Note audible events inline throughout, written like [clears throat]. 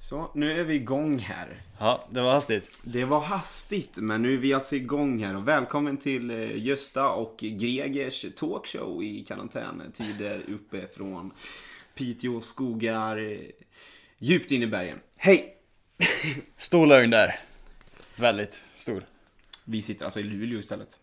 Så, nu är vi igång här. Ja, det var hastigt. Det var hastigt, men nu är vi alltså igång här. Och välkommen till eh, Gösta och Gregers talkshow i karantäntider uppe från Piteå skogar, eh, djupt in i bergen. Hej! Stor lögn där. Väldigt stor. Vi sitter alltså i Luleå istället.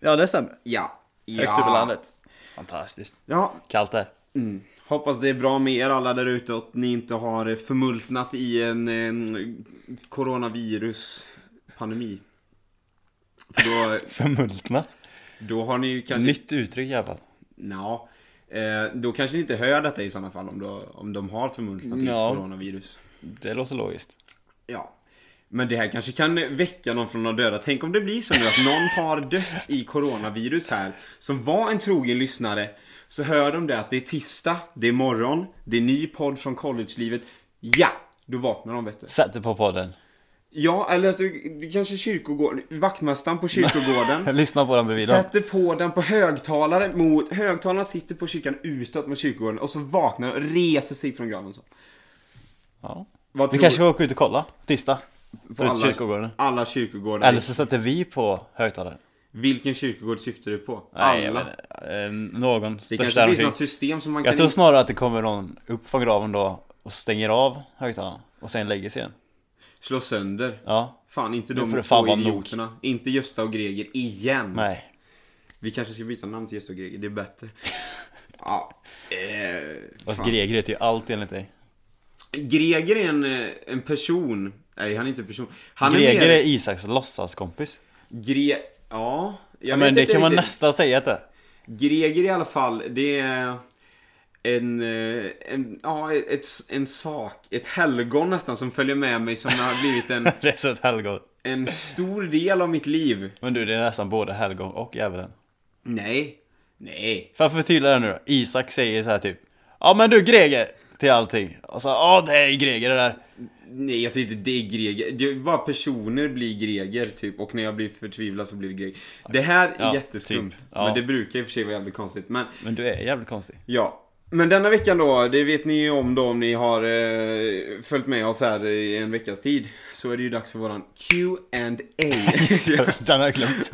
Ja, det stämmer. Ja. ja. Högt upp i landet. Fantastiskt. Ja, Kallt där. Mm. Hoppas det är bra med er alla där ute och att ni inte har eh, förmultnat i en, en coronavirus-pandemi. För då, Förmultnat. då har ni ju kanske... Nytt uttryck i alla fall. Ja. Eh, då kanske ni inte hör detta i sådana fall om, då, om de har förmultnat i Ja. ett coronavirus. Det låter logiskt. Ja. Men det här kanske kan väcka någon från de döda. Tänk om det blir så nu att någon har dött i coronavirus här, som var en trogen lyssnare. Så hör de det att det är tisdag, det är morgon, det är ny podd från collegelivet. Ja! Då vaknar de vet du. Sätt det på podden. Ja, eller att du, du kanske kyrkogården, vaktmästaren på kyrkogården. [laughs] Lyssna på den bredvid dem. Sätter på den på högtalare mot, högtalarna sitter på kyrkan utåt mot kyrkogården och så vaknar och reser sig från graven så. Ja. Vad Vi tror kanske ska åka ut och kolla. Tisdag. på Runt kyrkogården. alla kyrkogårdar? Eller så sätter vi på högtalaren. Vilken kyrkogård syftar du på? Nej, jag alla? vet inte. Eh, Någon. Det Största kanske finns någonting. något system som man Jag kan... tror in- snarare att det kommer någon upp från graven då och stänger av högtalaren. Och sen lägger sig igen. Slå sönder. Ja. Fan, inte Nu de får det två fan vara nog. idioterna. Inte Gösta och Greger igen. Nej. Vi kanske ska byta namn till Gösta och Greger, det är [laughs] bättre. ja. Eh, Fast fan. Greger heter ju allt enligt dig. Greger är en, eh, en person. Nej, han är inte en person. Han Greger är är mer... Isaks låtsaskompis. Gre... Ja. Jag Men vet det inte kan man riktigt. nästan säga att det är. Greger i alla fall, det är en, eh, en, ja, ett, en sak, ett helgon nästan som följer med mig som har blivit [laughs] en, Det är så ett helgon. en stor del av mitt liv. Men du, det är nästan både helgon och djävulen. Nej, nej. För att förtydliga det nu då. Isak säger så här typ. Ja men du Greger! Till allting. Och så, ja det är ju Greger det där. Nej, jag säger inte det är Greger. Det är bara personer blir Greger typ och när jag blir förtvivlad så blir det Greger. Det här är Ja, jätteskumt. typ. Ja. Men det brukar i och för sig vara jävligt konstigt. Men Men du är [laughs] jävligt konstig. Ja. Men denna veckan då, det vet ni ju om då om ni har eh, följt med oss här i en veckas tid. Så är det ju dags för våran Q&A. Den har jag glömt.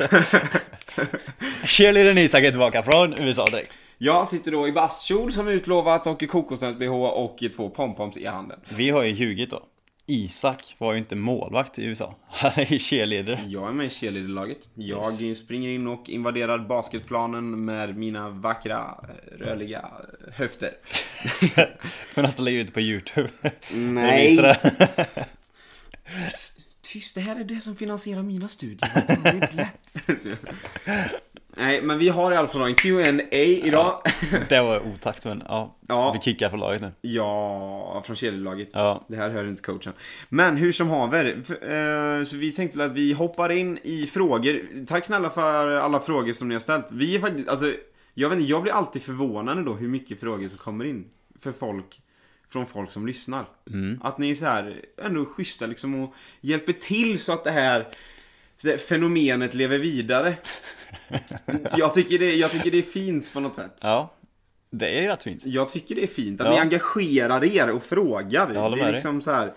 [laughs] Cheerleadern Isak är tillbaka från USA direkt. jag sitter då i bastkjol som utlovats och i kokosnöts-bh och i två pompoms i handen. Vi har ju ljugit då. Isak var ju inte målvakt i USA. Han är ju cheerleader. Jag är med i cheerleaderlaget. Jag springer in och invaderar basketplanen med mina vackra, eh, rörliga höfter. [laughs] Men han ställer ju ut på YouTube. Nej. Och visar det. S- Tyst, det här är det som finansierar mina studier. Fan, Det är inte lätt. Så jag- Nej, men vi har i alla fall en Q&A idag. Det var otakt men ja. Ja. Vi kickar för laget nu. Ja, från kedjelaget. [laughs] Ja. Det här hör inte coachen. Men hur som haver, f- eh, så vi tänkte väl att vi hoppar in i frågor. Tack snälla för alla frågor som ni har ställt. Vi är faktiskt, alltså, jag vet inte, jag blir alltid förvånad då hur mycket frågor som kommer in för folk, från folk som lyssnar. Att ni är så här, ändå schyssta liksom och hjälper till så att det här så det här fenomenet lever vidare. Jag tycker, det, jag tycker det är fint på något sätt. Ja. Det är ju rätt fint. Jag tycker det är fint att Ja. ni engagerar er och frågar. Jag håller det är med dig. liksom så här.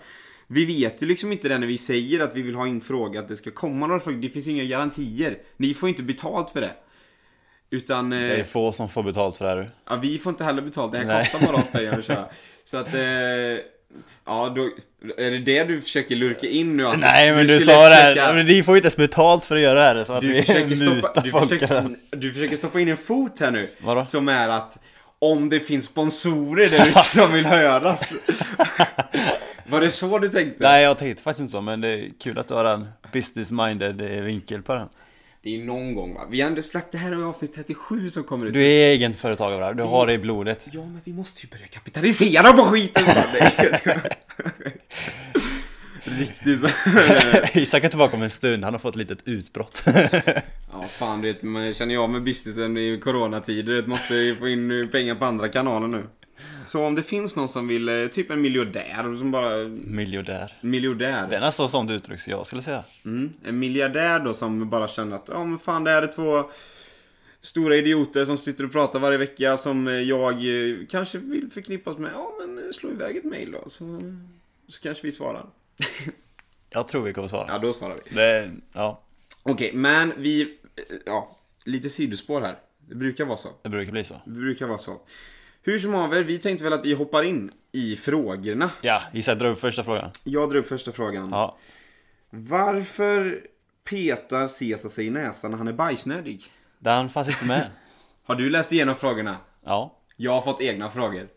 Vi vet ju liksom inte det när vi säger att vi vill ha in fråga, att det ska komma några frågor. Det finns inga garantier. Ni får inte betalt för det. Utan eh, Det är få som får betalt för det här du. ja, vi får inte heller betalt. Det här Nej. kostar bara oss pengar att [laughs] köra. Så att, eh, ja då, är det det du försöker lurka in nu? Att Nej men du, skulle sa det försöka- här, men ni får ju inte ens betalt för att göra det här så att du vi försöker, mutar stoppa, du, folk försöker, du försöker stoppa in en fot här nu. Vadå? Som är att om det finns sponsorer där ute som vill [laughs] höras. Var det så du tänkte? Nej jag tänkte faktiskt inte så men det är kul att du har en business-minded eh, vinkel på den Det är någon gång va? Vi har ändå släppt det här i avsnitt 37 som kommer ut. Du är egenföretagare va? du har det i blodet Ja men vi måste ju börja kapitalisera på skiten! va? [laughs] Riktigt så. Isak är tillbaka om en stund, han har fått ett litet utbrott [laughs] Ja fan du vet, man känner ju av med businessen i coronatider. Du vet, Måste ju få in eh, pengar på andra kanaler nu. Så om det finns någon som vill, eh, typ en miljardär som bara Miljardär Miljardär. Det är nästan sånt uttryck som jag skulle säga Mm. En miljardär då som bara känner att, ja men fan det här är två stora idioter som sitter och pratar varje vecka som eh, jag eh, kanske vill förknippas med. Ja men eh, slå iväg ett mail då. Så så kanske vi svarar. Jag tror vi kommer svara. Ja, då svarar vi. Det, ja, Okej, men vi... eh, Ja, lite sidospår här. Det brukar vara så. det brukar bli så. Det brukar vara så. Hur som haver, vi tänkte väl att vi hoppar in i frågorna. Ja, Isak dra upp första frågan. Jag drar upp första frågan. Ja. Varför petar Caesar sig i näsan när han är bajsnödig? Den fanns [laughs] inte med. Har du läst igenom frågorna? Ja. Jag har fått egna frågor.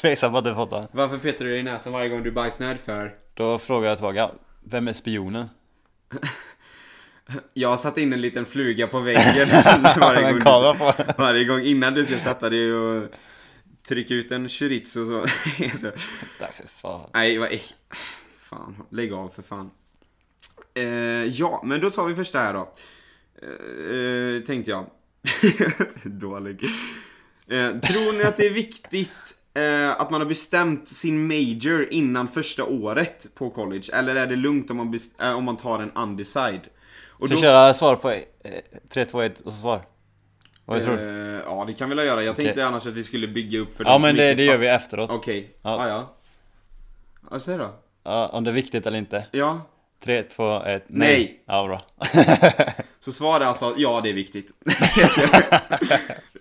Tveksam på att du fått den. Varför petar du dig i näsan varje gång du är bajsnödig för? Då frågar jag tillbaka. Vem är spionen? Jag har satt in en liten fluga på väggen varje, En gång [laughs] kamera du, på. varje gång innan du ska sätta dig och trycka ut en chorizo så. [laughs] så. Nej, för fan. Nej, vad äck- Fan, lägg av för fan. Eh, ja, men då tar vi första här då. Eh, eh, tänkte jag. [laughs] Så Dålig. Eh, tror ni att det är viktigt eh, att man har bestämt sin major innan första året på college? Eller är det lugnt om man, best- eh, om man tar en undecided? Och Ska jag köra svar på eh, 3, 2, 1 och så svar? Vad tror du? eh, ja, det kan vi väl göra. Jag tänkte annars att vi skulle bygga upp för Ja dem men som det, inte det gör fa- vi efteråt. Okej, Ja. ah, ja. Ja, säg då. Ja, om det är viktigt eller inte. Ja, 3, 2, 1, nej. Nej. Ja, bra. Så svar är alltså, ja det är viktigt.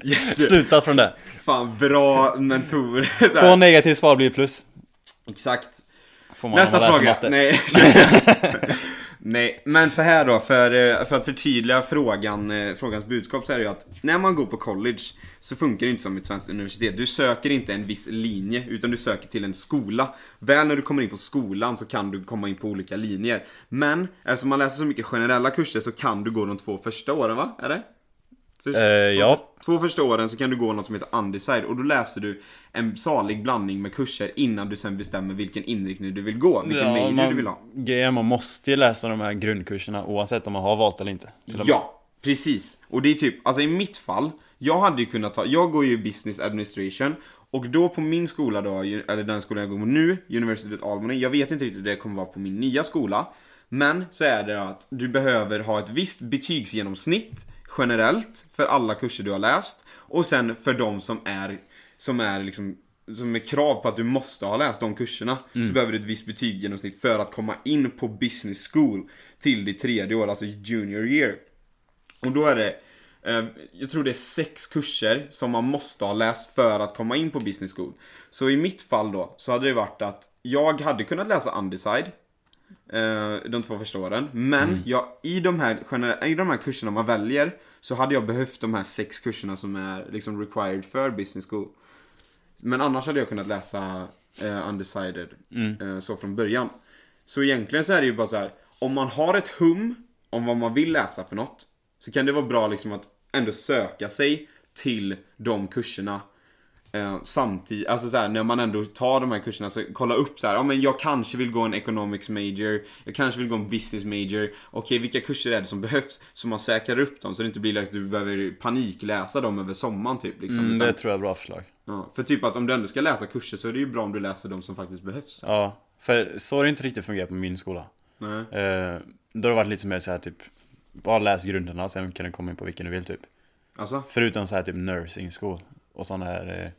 Jätte, Slutsats från det. fan bra mentor. [laughs] Så Två här. negativa svar blir plus. Exakt. Får man om man Nästa läser fråga. matte. Nej. [laughs] Nej, men så här då, för, eh, för att förtydliga frågan, eh, frågans budskap så är det ju att när man går på college så funkar det inte som ett svenskt universitet. Du söker inte en viss linje, utan du söker till en skola. Väl när du kommer in på skolan så kan du komma in på olika linjer. Men eftersom man läser så mycket generella kurser så kan du gå de två första åren va? Är det? Först- Eh, ja. Två första åren så kan du gå något som heter undecided och då läser du en salig blandning med kurser innan du sen bestämmer vilken inriktning du vill gå, vilken major man, du vill ha. Grejen är, man måste ju läsa de här grundkurserna oavsett om man har valt eller inte. Till och med. Ja, precis. Och det är typ, alltså i mitt fall, jag hade ju kunnat ta, jag går ju business administration och då på min skola då, ju- eller den skolan jag går på nu, University of Albany, jag vet inte riktigt hur det kommer vara på min nya skola. Men så är det att du behöver ha ett visst betygsgenomsnitt generellt för alla kurser du har läst och sen för de som är, som är liksom som är krav på att du måste ha läst de kurserna Mm. så behöver du ett visst betyg genomsnitt för att komma in på business school till ditt tredje år, alltså junior year. Och då är det, eh, jag tror det är sex kurser som man måste ha läst för att komma in på business school. Så i mitt fall då, så hade det varit att jag hade kunnat läsa undecided eh, de två första åren. Men jag, i, de här, gener- i de här kurserna man väljer så hade jag behövt de här sex kurserna som är liksom required för business school. Men annars hade jag kunnat läsa eh, undecided Mm. eh, så från början. Så egentligen så är det ju bara så här. Om man har ett hum om vad man vill läsa för något. Så kan det vara bra liksom att ändå söka sig till de kurserna. Eh, samtidigt, alltså så här, när man ändå tar de här kurserna så kolla upp så här, ja men jag kanske vill gå en economics major, jag kanske vill gå en business major, okej vilka kurser är det som behövs? Så man säkrar upp dem så det inte blir liksom, du behöver panikläsa dem över sommaren typ liksom. Mm, Utan- det tror jag är bra förslag. Ja, för typ att om du ändå ska läsa kurser så är det ju bra om du läser de som faktiskt behövs. Ja, för så har det inte riktigt fungerat på min skola. Nej. Eh, då har det varit lite mer så här typ Bara läs grunderna, sen kan du komma in på vilken du vill typ Alltså? Förutom så här typ nursing school Och sådana här eh,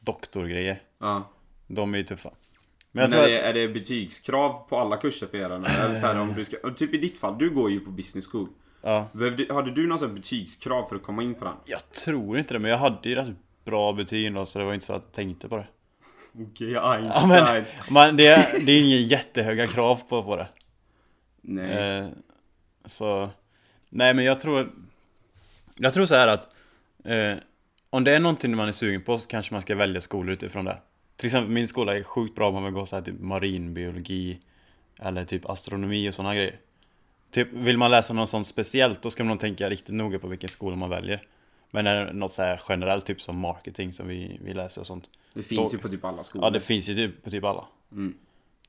doktorgrejer Ja. De är ju tuffa Men Men jag tror är, att, det, är det betygskrav på alla kurser för er? Eller är det så här, om du ska, typ i ditt fall, du går ju på business school. ja, Behövde, hade du några så här betygskrav för att komma in på den? Jag tror inte det, men jag hade ju rätt bra betyg ändå så det var inte så att jag tänkte på det Okej, Einstein. Ja men, men det, det är ju inga jättehöga krav på, på det Nej. Eh, så... Nej men jag tror... Jag tror så här att... Eh, om det är någonting man är sugen på så kanske man ska välja skolor utifrån det. Till exempel min skola är sjukt bra om man vill gå så här typ marinbiologi eller typ astronomi och sådana grejer. Typ, vill man läsa något sånt speciellt då ska man nog tänka riktigt noga på vilken skola man väljer. Men är det något så här generellt typ som marketing som vi, vi läser och sånt. det finns då- ju på typ alla skolor. Ja det finns ju typ på typ alla.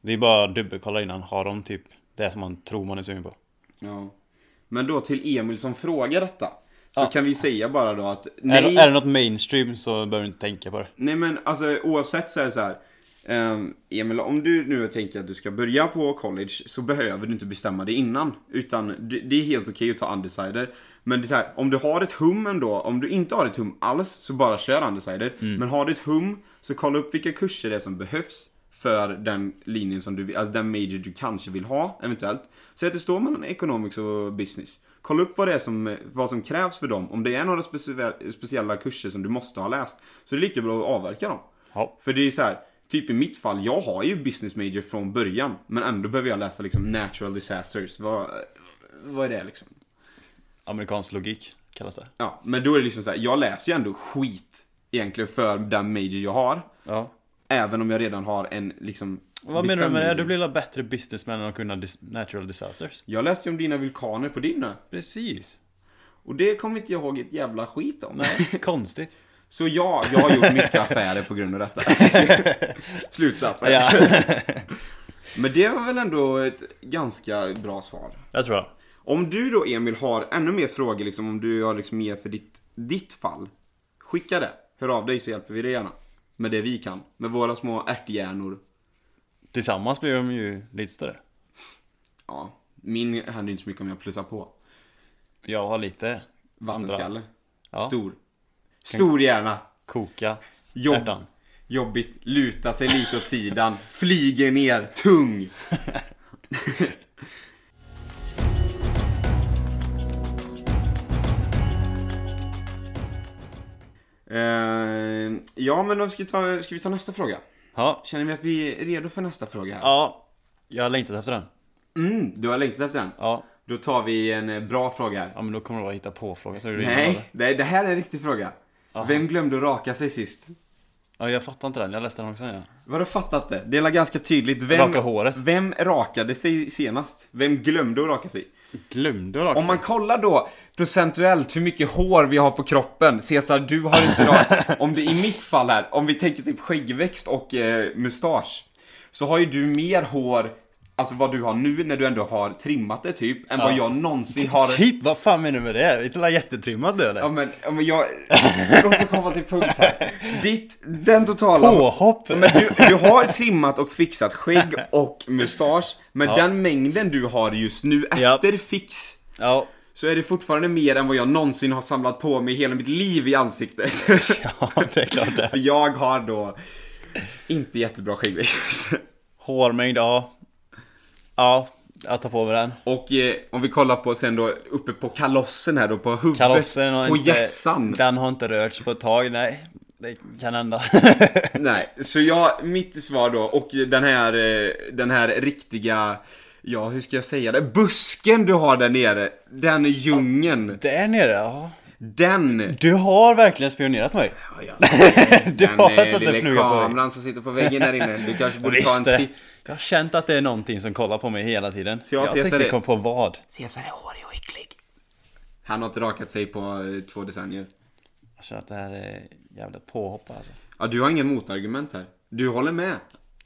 Det är bara att dubbelkolla innan, har de typ det som man tror man är sugen på? Ja. Men då till Emil som frågar detta. Så kan vi säga bara då att Är, nej, det- är det något mainstream så behöver du inte tänka på det. Nej men alltså oavsett så är det så här. ehm, Emil, om du nu tänker att du ska börja på college så behöver du inte bestämma dig innan. Utan det det är helt okej att ta undecided. Men det är så här, om du har ett hum ändå, om du inte har ett hum alls så bara kör undecided. Men har du ett hum så kolla upp vilka kurser det är som behövs för den linjen som du vill, alltså den major du kanske vill ha eventuellt. Säg att det står mellan economics och business. Kolla upp vad det är som, vad som krävs för dem. Om det är några specie- speciella kurser som du måste ha läst så är det lika bra att avverka dem. Ja. För det är så här, typ i mitt fall, jag har ju business major från början. Men ändå behöver jag läsa liksom natural disasters. Vad, vad är det liksom? Amerikansk logik kallas det. Ja, men då är det liksom så här, jag läser ju ändå skit egentligen för den major jag har. Ja. Även om jag redan har en liksom Vad menar du bestämd med det? major. Du blir väl bättre businessman än att kunna dis- natural disasters? Jag läste ju om dina vulkaner på din ö. Precis. Och det kommer inte jag ihåg ett jävla skit om. Nej, [laughs] konstigt. Så ja, jag har gjort mycket affärer på grund av [laughs] detta. Slutsatsen. Ja, Men det var väl ändå ett ganska bra svar. [laughs] jag tror det. Om du då Emil har ännu mer frågor, liksom, om du har liksom mer för ditt, ditt fall. Skicka det. Hör av dig så hjälper vi dig gärna. Med det vi kan. Med våra små ärthjärnor. Tillsammans blir de ju lite större. Ja, min händer ju inte så mycket om jag plussar på. Jag har lite Vattenskalle. Ja. Stor. Stor hjärna. koka Jobb. hjärtan. Jobbigt. Luta sig lite åt sidan. Flyger ner. [laughs] Tung. Eh, ja, men då ska vi, ta, ska vi ta nästa fråga? Ja. Känner vi att vi är redo för nästa fråga här? ja, jag har längtat efter den. Mm, du har längtat efter den? Ja, Då tar vi en eh, bra fråga här. ja men då kommer det vara hitta på fråga så är det Nej, det, det här är en riktig fråga. Aha. Vem glömde att raka sig sist? Ja, jag fattar inte den. Jag läste den också. Ja. Vadå fattat det? Det är ganska tydligt. Vem, Raka håret. vem rakade sig senast? Vem glömde att raka sig? Glömde du Om man kollar då procentuellt hur mycket hår vi har på kroppen. Cesar, du har inte [laughs] rakat. om det i mitt fall här, om vi tänker typ skäggväxt och eh, mustasch. Så har ju du mer hår, alltså vad du har nu när du ändå har trimmat det typ, än vad jag någonsin har. [laughs] Typ, vad fan menar du med det? Inte la jättetrimmat du eller? Ja men, ja, men jag... Låt mig komma till punkt här. Ditt, den totala... Påhopp! Ja, Men du, du har trimmat och fixat skägg och mustasch, men den mängden du har just nu Ja. efter fix Ja, så är det fortfarande mer än vad jag någonsin har samlat på mig hela mitt liv i ansiktet. [laughs] ja, det är klart det. För jag har då inte jättebra skäggväxt. Hårmängd, ja. Ja, jag tar på mig den. Och eh, om vi kollar på sen då uppe på kalossen här då, på huvudet, Kalofsen har på inte... hjässan. Den har inte rörts på ett tag, nej. Det kan hända. [laughs] Nej, så jag, mitt svar då, och den här, eh, den här riktiga, ja hur ska jag säga det, busken du har där nere, den djungeln, Där nere, ja. den! Du har verkligen spionerat mig. [laughs] Du Den har eh, satt en lilla fluga på mig. kameran som sitter på väggen där inne, du kanske borde ta Visst en det. titt. Jag har känt att det är någonting som kollar på mig hela tiden. jag jag ser så tänkte det- komma på vad. Cesar är hårig och äcklig. Han har inte rakat sig på eh, två decennier. Jag känner att det här är jävligt påhopp alltså. Ja, du har inget motargument här. Du håller med?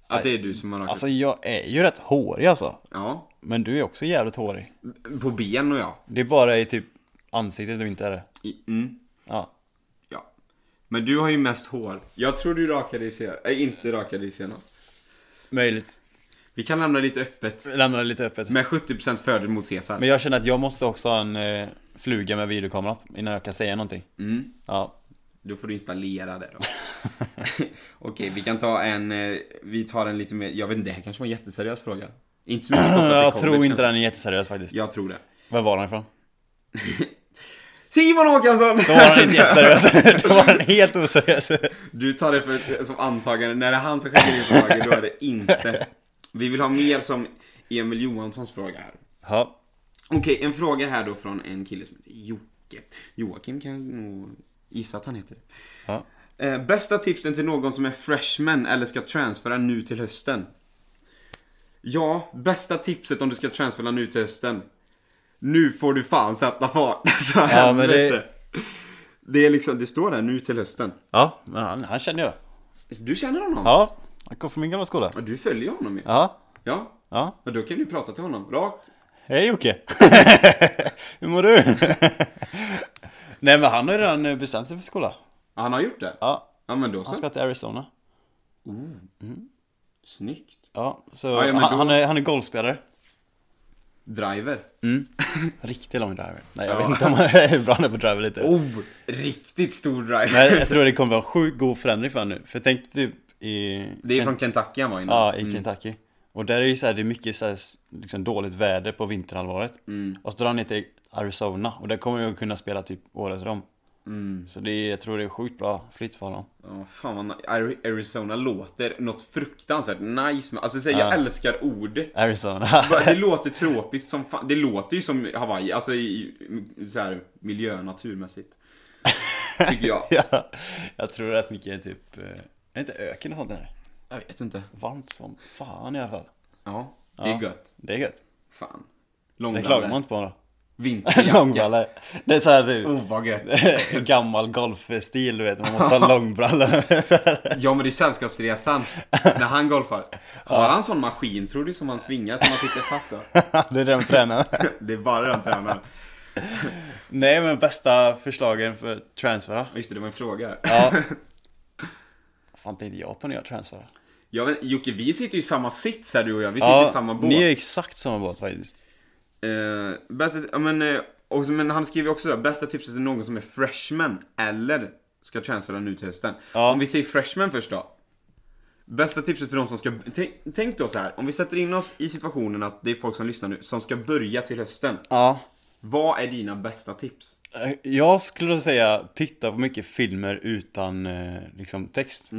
Att det är du som har rakat? Alltså jag är ju rätt hårig alltså. Ja. Men du är också jävligt hårig. På ben och ja. Det är bara i typ ansiktet du inte är det. I- Mm. Ja. Ja. Men du har ju mest hår. Jag tror du rakade dig senast. Äh, inte rakade dig senast. Möjligt. Vi kan lämna lite öppet. Lämna det lite öppet. Med 70% fördel mot Cesar. Men jag känner att jag måste också ha en eh, fluga med videokamera innan jag kan säga någonting. Mm. Ja. Då får du installera det då. [laughs] Okej, vi kan ta en... eh, Vi tar en lite mer... Jag vet inte, det här kanske var en jätteseriös fråga. Inte så mycket [laughs] kopplat till Jag college, tror inte kanske. den är jätteseriös faktiskt. Jag tror det. Var var den ifrån? Simon Håkansson! Då var den inte jätteseriös. [laughs] Då var den helt oseriös. [laughs] Du tar det för, som antagande, när det är han som skickar in frågor, då är det inte. Vi vill ha mer som Emil Johanssons fråga här. Ja. Okej, en fråga här då från en kille som heter Jocke. Joakim kan jag nog gissa att han heter. Ja. Eh, bästa tipsen till någon som är freshman eller ska transfera nu till hösten? Ja, bästa tipset om du ska transfera nu till hösten. Nu får du fan sätta fart. [laughs] Så Ja, men det- helvete. Det är liksom, det står där nu till hösten. Ja, men han, han känner jag. Du känner honom? Ja. Han kom från min gamla skola. Ja, Du följer honom ju. Ja. Ja. ja. Ja. då kan du prata till honom rakt. Hej Jocke! [laughs] Hur mår du? [laughs] Nej men han har ju redan eh, bestämt sig för skola. Ja, han har gjort det? Ja, Ja, men då så. Oh, mm. han ska till Arizona. Snyggt. Ja, så ja, men han, då- han, är, han är golfspelare. Driver. Riktigt lång driver. Nej jag vet inte om han är bra han är på driver lite. Oh, riktigt stor driver. Men jag tror det kommer vara en sjukt god förändring för honom nu. För tänk typ i... Det är från Kentucky han var innan. Ja, i Mm. Kentucky. Och där är ju så här, det är mycket så här, s- liksom dåligt väder på vinterhalvåret. Mm. Och så drar han ner till Arizona och där kommer jag kunna spela typ året om. Mm. Så det är, jag tror det är sjukt bra flytt för honom. Ja, fan vad Ari- Arizona låter något fruktansvärt nice med. Alltså, så, Ja. jag älskar ordet. Arizona. Bara, Det låter tropiskt som fan. Det låter ju som Hawaii, alltså i, i så här, miljö, naturmässigt. Tycker jag. [laughs] ja, jag tror rätt mycket är typ, eh, är det inte öken och sånt där? Jag vet inte. Varmt som fan i alla fall. Ja, det är Ja. gött. Det är gött. Fan. Det klagar man Långbrallor. inte på då. [laughs] Vinterjacka. Långbrallor. Det är såhär typ, Oh vad gött. [laughs] gammal golfstil du vet, man måste ha långbrallor. [laughs] Ja men det är sällskapsresan. När han golfar. Har han sån maskin tror du som han svingar som han sitter fast då? det är det de tränar. Det är bara den tränaren. Nej men bästa förslagen för transfer då? Just det, det var en fråga. Ja. Fan tänkte jag på när jag transferade? Jag vet, Jocke, vi sitter ju i samma sits här du och jag. Vi sitter i samma båt. Ni är exakt samma båt faktiskt. Eh, bästa, ja, men, eh, och, så- men han skriver också där, bästa tipset till någon som är freshman eller ska transfera nu till hösten. Ja. Om vi säger freshman först då. Bästa tipset för de som ska, tänk, tänk då så här, om vi sätter in oss i situationen att det är folk som lyssnar nu, som ska börja till hösten. Ja. Vad är dina bästa tips? Jag skulle säga titta på mycket filmer utan eh, liksom text.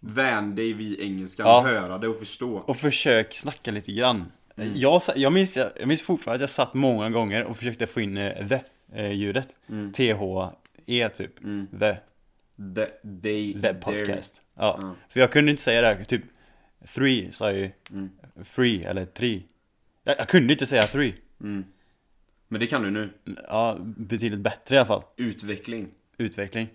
Vän dig vid engelskan, Ja. höra det och förstå. Och försök snacka lite grann. Jag, sa- jag, minns, jag minns fortfarande att jag satt många gånger och försökte få in eh, the-ljudet. T-H-E typ. The, The, they, the their- podcast. Ja. Ja. För jag kunde inte säga det här, typ three sa jag ju. Mm. Free eller tre. Jag, jag kunde inte säga three. Men det kan du nu. Ja, betydligt bättre i alla fall. Utveckling. Utveckling.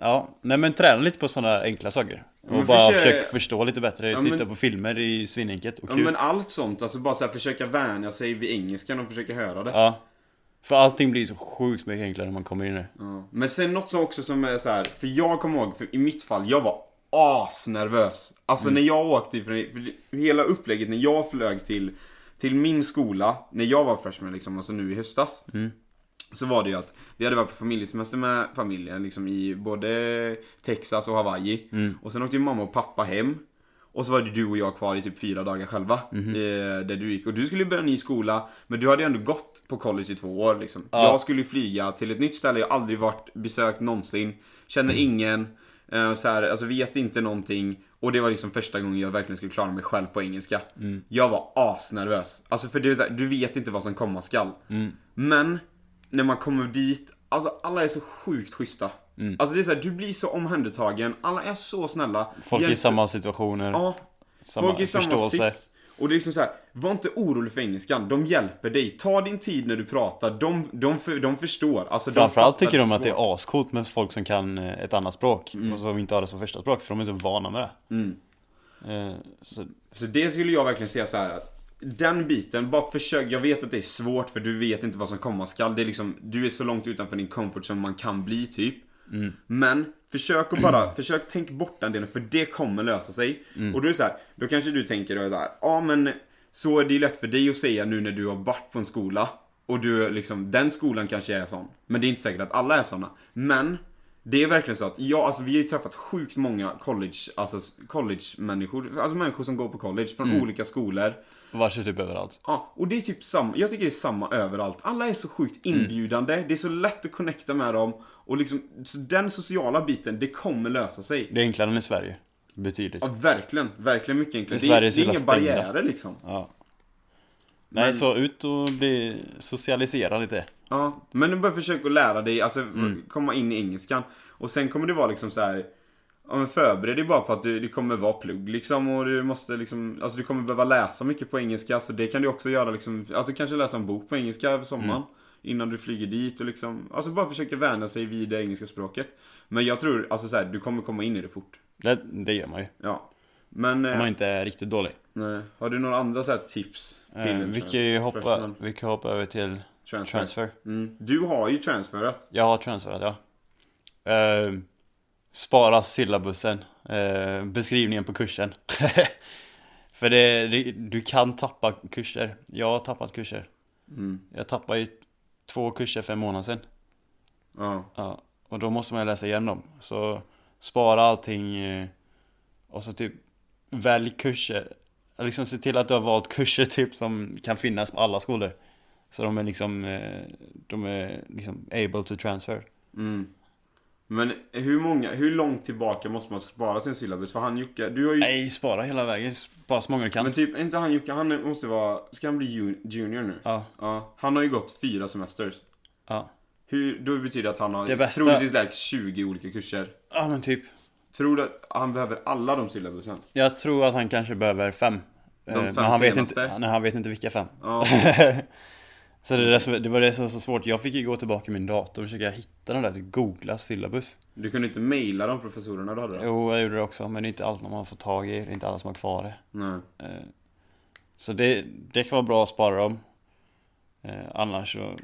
Ja, nej men träna lite på sådana enkla saker. Och men bara försök- försök... förstå lite bättre. Ja, Titta men- på filmer i svinenkelt och Ja, kul. men allt sånt, alltså bara så här, försöka vänja sig vid engelskan och försöka höra det. Ja. För allting blir så sjukt mycket enklare när man kommer in i det. Ja. Men sen något som också som är så här, för jag kommer ihåg, för i mitt fall, jag var asnervös. Alltså Mm. när jag åkte ifrån, för hela upplägget när jag flög till, till min skola, när jag var freshman liksom, alltså nu i höstas. Mm. Så var det ju att vi hade varit på familjesemester med familjen liksom i både Texas och Hawaii. Mm. Och sen åkte ju mamma och pappa hem. Och så var det du och jag kvar i typ fyra dagar själva. Mhm. Eh, där du gick. Och du skulle ju börja en ny skola, men du hade ju ändå gått på college i två år liksom. Jag skulle ju flyga till ett nytt ställe jag aldrig varit besökt någonsin. Känner Mm. ingen. Eh, så här, alltså vet inte någonting. Och det var liksom första gången jag verkligen skulle klara mig själv på engelska. Mm. Jag var asnervös. Alltså för det är så här, du vet inte vad som komma skall. Mm. Men när man kommer dit, alltså alla är så sjukt schyssta. Mm. Alltså det är så här, du blir så omhändertagen, alla är så snälla. Folk i Hjälper- samma situationer. Ja, samma folk i samma förståelse. sits. Och det är liksom så här, var inte orolig för engelskan, de hjälper dig. Ta din tid när du pratar, de, de, för, de förstår. Alltså, de Framförallt fattar Mm. tycker de att det svårt. är ascoolt med folk som kan eh, ett annat språk och som inte har det som första språk för de är så vana med det. Mm. Eh, Så, Så det skulle jag verkligen säga så här att den biten, bara försök. Jag vet att det är svårt för du vet inte vad som komma skall. Det är liksom, du är så långt utanför din comfort som man kan bli typ. Mm. Men försök att bara, [clears throat] försök tänk bort den delen för det kommer lösa sig. Och då är det så här, då kanske du tänker då så här, ja men så är det ju lätt för dig att säga nu när du har varit på en skola. Och du är liksom, den skolan kanske är sån. Men det är inte säkert att alla är såna. Men det är verkligen så att jag, alltså vi har ju träffat sjukt många college, alltså s- college-människor, alltså människor som går på college från olika skolor. vars är typ överallt. Ja, och det är typ samma, jag tycker det är samma överallt. Alla är så sjukt inbjudande, det är så lätt att connecta med dem. Och liksom, så den sociala biten, det kommer lösa sig. Det är enklare än i Sverige. Betydligt. Ja, verkligen, verkligen mycket enklare. Det Det är är, det Sveriges är inga lilla stängda. barriärer liksom. Ja. Nej, så ut och bli socialisera lite. Ja, men du bara försök att lära dig, alltså Mm. komma in i engelskan. Och sen kommer det vara liksom så här. Ja, men förbered dig bara på att du, det kommer vara plugg liksom och du måste liksom, alltså du kommer behöva läsa mycket på engelska så det kan du också göra liksom, alltså kanske läsa en bok på engelska över sommaren. Mm. Innan du flyger dit och liksom, alltså bara försöka vänja sig vid det engelska språket. Men jag tror, alltså så här, du kommer komma in i det fort. Det, det gör man ju. Ja. Men, Om eh, man inte är riktigt dålig. nej. har du några andra så här tips? Till Eh, vi, kan ju hoppa, freshman vi kan hoppa över till transfer? transfer. Mm. Du har ju transferat. Jag har transferat, ja. Eh, spara syllabusen. Eh, beskrivningen på kursen. [laughs] För det, det, du kan tappa kurser. Jag har tappat kurser. Mm. Jag tappade ju två kurser för en månad sedan. Ja. Ja, och då måste man ju läsa igenom dem. Så spara allting eh, Och så typ välj kurser. Liksom se till att du har valt kurser [laughs] typ som kan finnas på alla skolor. Så de är liksom, eh, de är liksom able to transfer. Mm. Men hur många, hur långt tillbaka måste man spara sin syllabus? För han Jocke, du har ju... Nej, spara hela vägen. Spara så många du Men kan. typ, inte han Jocke, han måste vara... Ska han bli ju- junior nu? Ja, Ja. Han har ju gått fyra semesters. ja. Hur, då betyder det att han har Det bästa- troligtvis lärt 20 olika kurser. Ja men typ. Tror du att han behöver alla de syllabusen? Jag tror att han kanske behöver fem. De Eh, fem men han vet, senaste? inte, nej, han vet inte vilka fem. Ja. [laughs] så det, är det, som, det var det som var så svårt. Jag fick ju gå tillbaka i min dator och försöka hitta den där, googla syllabus. Du kunde inte mejla de professorerna du hade då? Jo, jag gjorde det också, men det är inte allt man får tag i. Det är inte alla som har kvar det. Nej. Eh, Så det, det kan vara bra att spara dem. Eh, Annars så...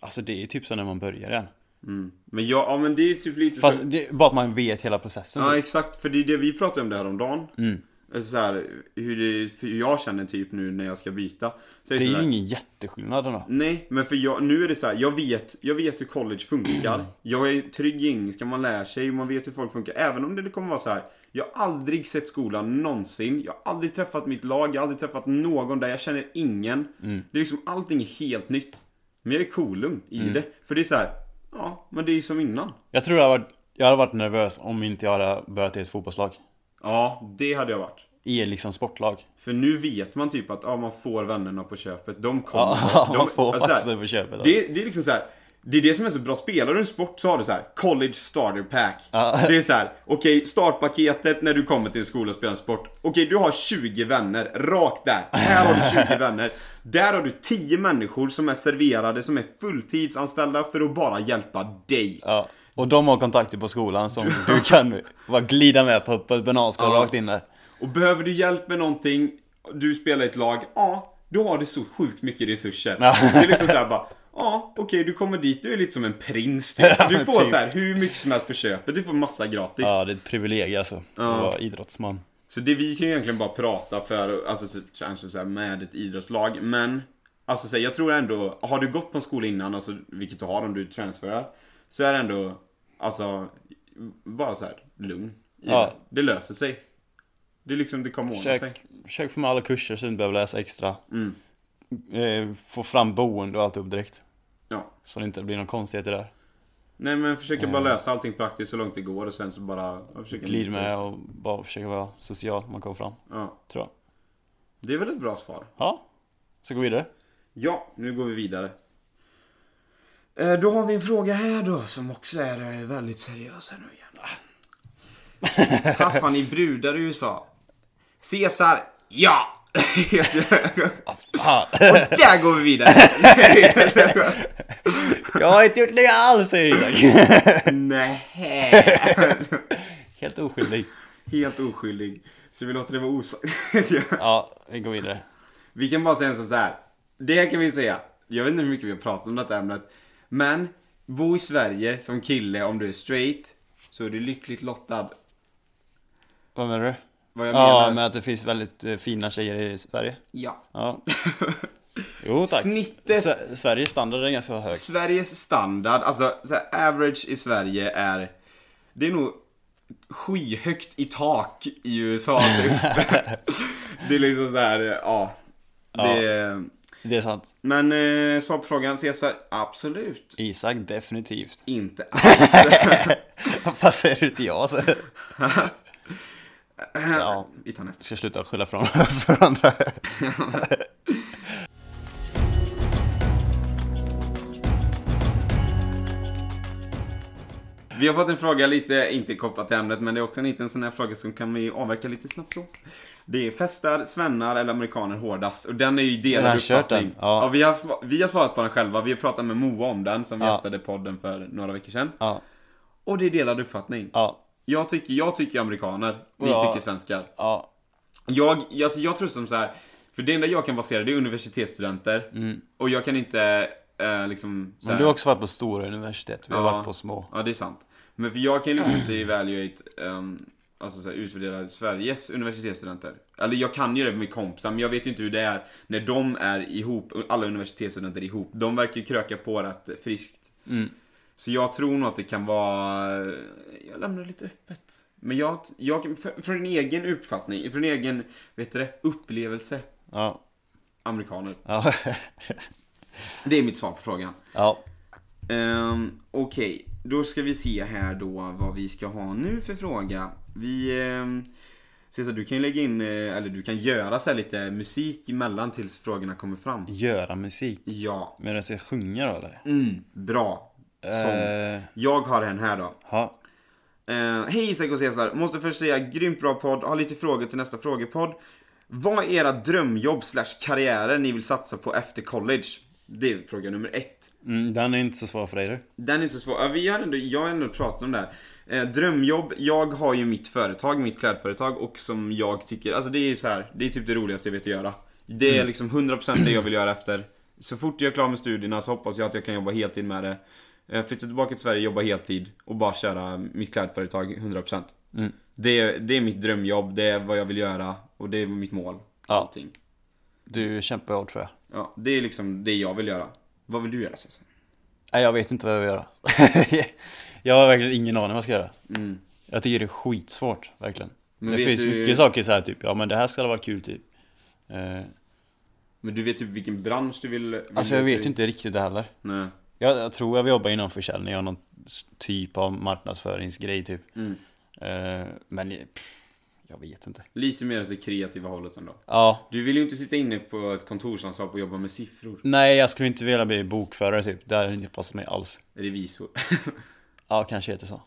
Alltså det är typ som när man börjar igen. Mm. Men jag, ja men det är typ lite Fast så... det, bara att man vet hela processen. Ja typ. exakt, för det är det vi pratade om det här om dagen. Mm. Alltså så här, hur, det, för hur jag känner typ nu när jag ska byta. Så är Det så är här, ju ingen jätteskillnad ändå. Nej, men för jag, nu är det så här, jag vet, jag vet hur college [clears throat] funkar. Jag är trygg i engelska, man lär sig, man vet hur folk funkar. Även om det kommer vara så här, jag har aldrig sett skolan någonsin. Jag har aldrig träffat mitt lag, jag har aldrig träffat någon där, jag känner ingen. Mm. Det är liksom, allting är helt nytt. Men jag är kolugn i Mm. det. För det är så här, ja, men det är som innan. Jag tror jag hade varit, jag hade varit nervös om inte jag hade börjat i ett fotbollslag. Ja, det hade jag varit. I liksom sportlag. [laughs] För nu vet man typ att ja, man får vännerna på köpet. De kommer. Ja, [laughs] de, man får alltså så här, faktiskt det på köpet. Det, det är liksom så här. Det är det som är så bra. Spelar du en sport så har du så här college starter pack. Ja. Det är så här, okej startpaketet när du kommer till en skola och spelar en sport. Okej, du har 20 vänner, rakt där. Här har du 20 vänner. Där har du 10 människor som är serverade, som är fulltidsanställda för att bara hjälpa dig. Ja. Och de har kontakter på [laughs] skolan som du kan bara glida med på, på ett bananskal Ja. rakt in där. Och behöver du hjälp med någonting, du spelar i ett lag, ja, då har du så sjukt mycket resurser. Ja. Det är liksom såhär bara, ja, okej, du kommer dit, du är lite som en prins typ. Ja, Du men får typ. så här hur mycket som helst på köpet, du får massa gratis. Ja, det är ett privilegium alltså. Att vara idrottsman. Så det vi kan ju egentligen bara prata för, alltså så- kanske så här, med ett idrottslag, men Alltså så här, jag tror ändå, har du gått på en skola innan, alltså, vilket du har om du transferar, så är det ändå, alltså, bara så här, lugn. i Ja. det. Det löser sig. Det är liksom, det kommer ordna sig. Försök, försök få med alla kurser så du inte behöver läsa extra. Mm. Eh, få fram boende och alltihop direkt. Ja. Så det inte blir någon konstigheter där. Mm, Nej men försöka Eh. bara lösa allting praktiskt så långt det går och sen så bara ja, försöka Glid njuta med oss. och bara försöka vara social när man kommer fram. Ja, Tror jag. det är väl ett bra svar. Ja. Så [laughs] gå vidare. Ja, nu går vi vidare. Eh, Då har vi en fråga här då som också är eh, väldigt seriös här nu [laughs] igen. Haffan i brudar i USA. Cesar, ja! [laughs] Fan. och där går vi vidare. [laughs] [laughs] Jag har inte gjort det alls säger Isak. Nej. Helt oskyldig. Helt oskyldig. Så vi låter det vara osagt. Ja, vi går vidare. Vi kan bara säga så här. Det här kan vi säga. Jag vet inte hur mycket vi har pratat om detta ämnet. Men, bo i Sverige som kille om du är straight. Så är du lyckligt lottad. Vad menar du? Vad jag Ja, menar. men att det finns väldigt eh, fina tjejer i Sverige. Ja. [laughs] Ja. Jo tack. Snittet. Sve- Sveriges standard är ganska hög. Sveriges standard, alltså så här, average i Sverige är... Det är nog skyhögt i tak i [laughs] USA typ. det är liksom så här, ja. Det, Det är sant. Men eh, svar på frågan, Cesar? Absolut Isak definitivt. [laughs] inte alls. Vad säger du till [laughs] jag så? ja, Vi tar nästa. ska sluta skylla från oss för andra. [laughs] Vi har fått en fråga lite, inte kopplat till ämnet, men det är också en liten sån här fråga som kan vi avverka lite snabbt så. Det är festar, svennar eller amerikaner hårdast? Och den är ju Den delad har kört uppfattning. den, ja. vi, har, sva- vi har svarat på den själva, vi har pratat med Moa om den som Ja. gästade podden för några veckor sedan. ja, Och det är delad uppfattning. ja, Jag tycker, jag tycker amerikaner, ni Ja. tycker svenskar. ja. Jag, alltså jag tror som så här. för det enda jag kan basera det är universitetsstudenter. Och jag kan inte, eh, liksom... så Mm. Men här- du har också varit på stora universitet. Vi har Ja. varit på små. Ja, det är sant. Men för jag kan ju liksom inte evaluate, um, alltså så här, utvärdera Sveriges universitetsstudenter. Eller jag kan ju det med mina kompisar, men jag vet ju inte hur det är när de är ihop, alla universitetsstudenter ihop. De verkar ju kröka på rätt friskt. Så jag tror nog att det kan vara, jag lämnar det lite öppet. Men jag, jag för- från en egen uppfattning, från en egen, vet du det, upplevelse, Ja. amerikaner. Ja. [laughs] Det är mitt svar på frågan. ja. Ehm, Okej, då ska vi se här då vad vi ska ha nu för fråga. Vi... ehm, Cesar, du kan ju lägga in, eh, eller du kan göra så här lite musik emellan tills frågorna kommer fram. Göra musik. Ja. Men att jag sjunger då eller? Mm, bra. Sång. Eh, Jag har en här då. ja. Eh, Hej Isak och Cesar! Måste först säga grymt bra podd, har lite frågor till nästa frågepodd. Vad är era drömjobb slash karriärer ni vill satsa på efter college? Det är fråga nummer ett. Mm, den är inte så svår för dig du. Den är så svår. Ja, Vi har ändå, jag har ändå pratat om det här. Eh, drömjobb, jag har ju mitt företag, mitt klädföretag och som jag tycker, alltså det är ju så här, det är typ det roligaste jag vet att göra. Det är Mm. liksom 100% det jag vill göra efter. Så fort jag är klar med studierna så hoppas jag att jag kan jobba heltid med det. Eh, flytta tillbaka till Sverige, jobba heltid och bara köra mitt klädföretag 100%. Mm. Det, är- det är mitt drömjobb, det är vad jag vill göra och det är mitt mål. Ja. Allting. Du kämpar hårt tror jag. Ja, det är liksom det jag vill göra. Vad vill du göra Cesar? Nej, jag vet inte vad jag vill göra. [laughs] jag har verkligen ingen aning vad jag ska göra. Mm. Jag tycker det är skitsvårt, verkligen. Men det vet finns du- mycket saker så här typ, ja men det här ska vara kul typ. Eh, Men du vet typ vilken bransch du vill... vill alltså jag ge sig vet i? inte riktigt det heller. Nej. Jag, jag tror jag vill jobba inom försäljning, jag har någon s- typ av marknadsföringsgrej typ. Mm. Eh, men eh, pff, jag vet inte. Lite mer åt det kreativa hållet ändå. Ja, Du vill ju inte sitta inne på ett kontorsanslag och jobba med siffror. nej jag skulle inte vilja bli bokförare typ. Det hade inte passat mig alls. Revisor. [laughs] Ja, kanske heter [laughs] så.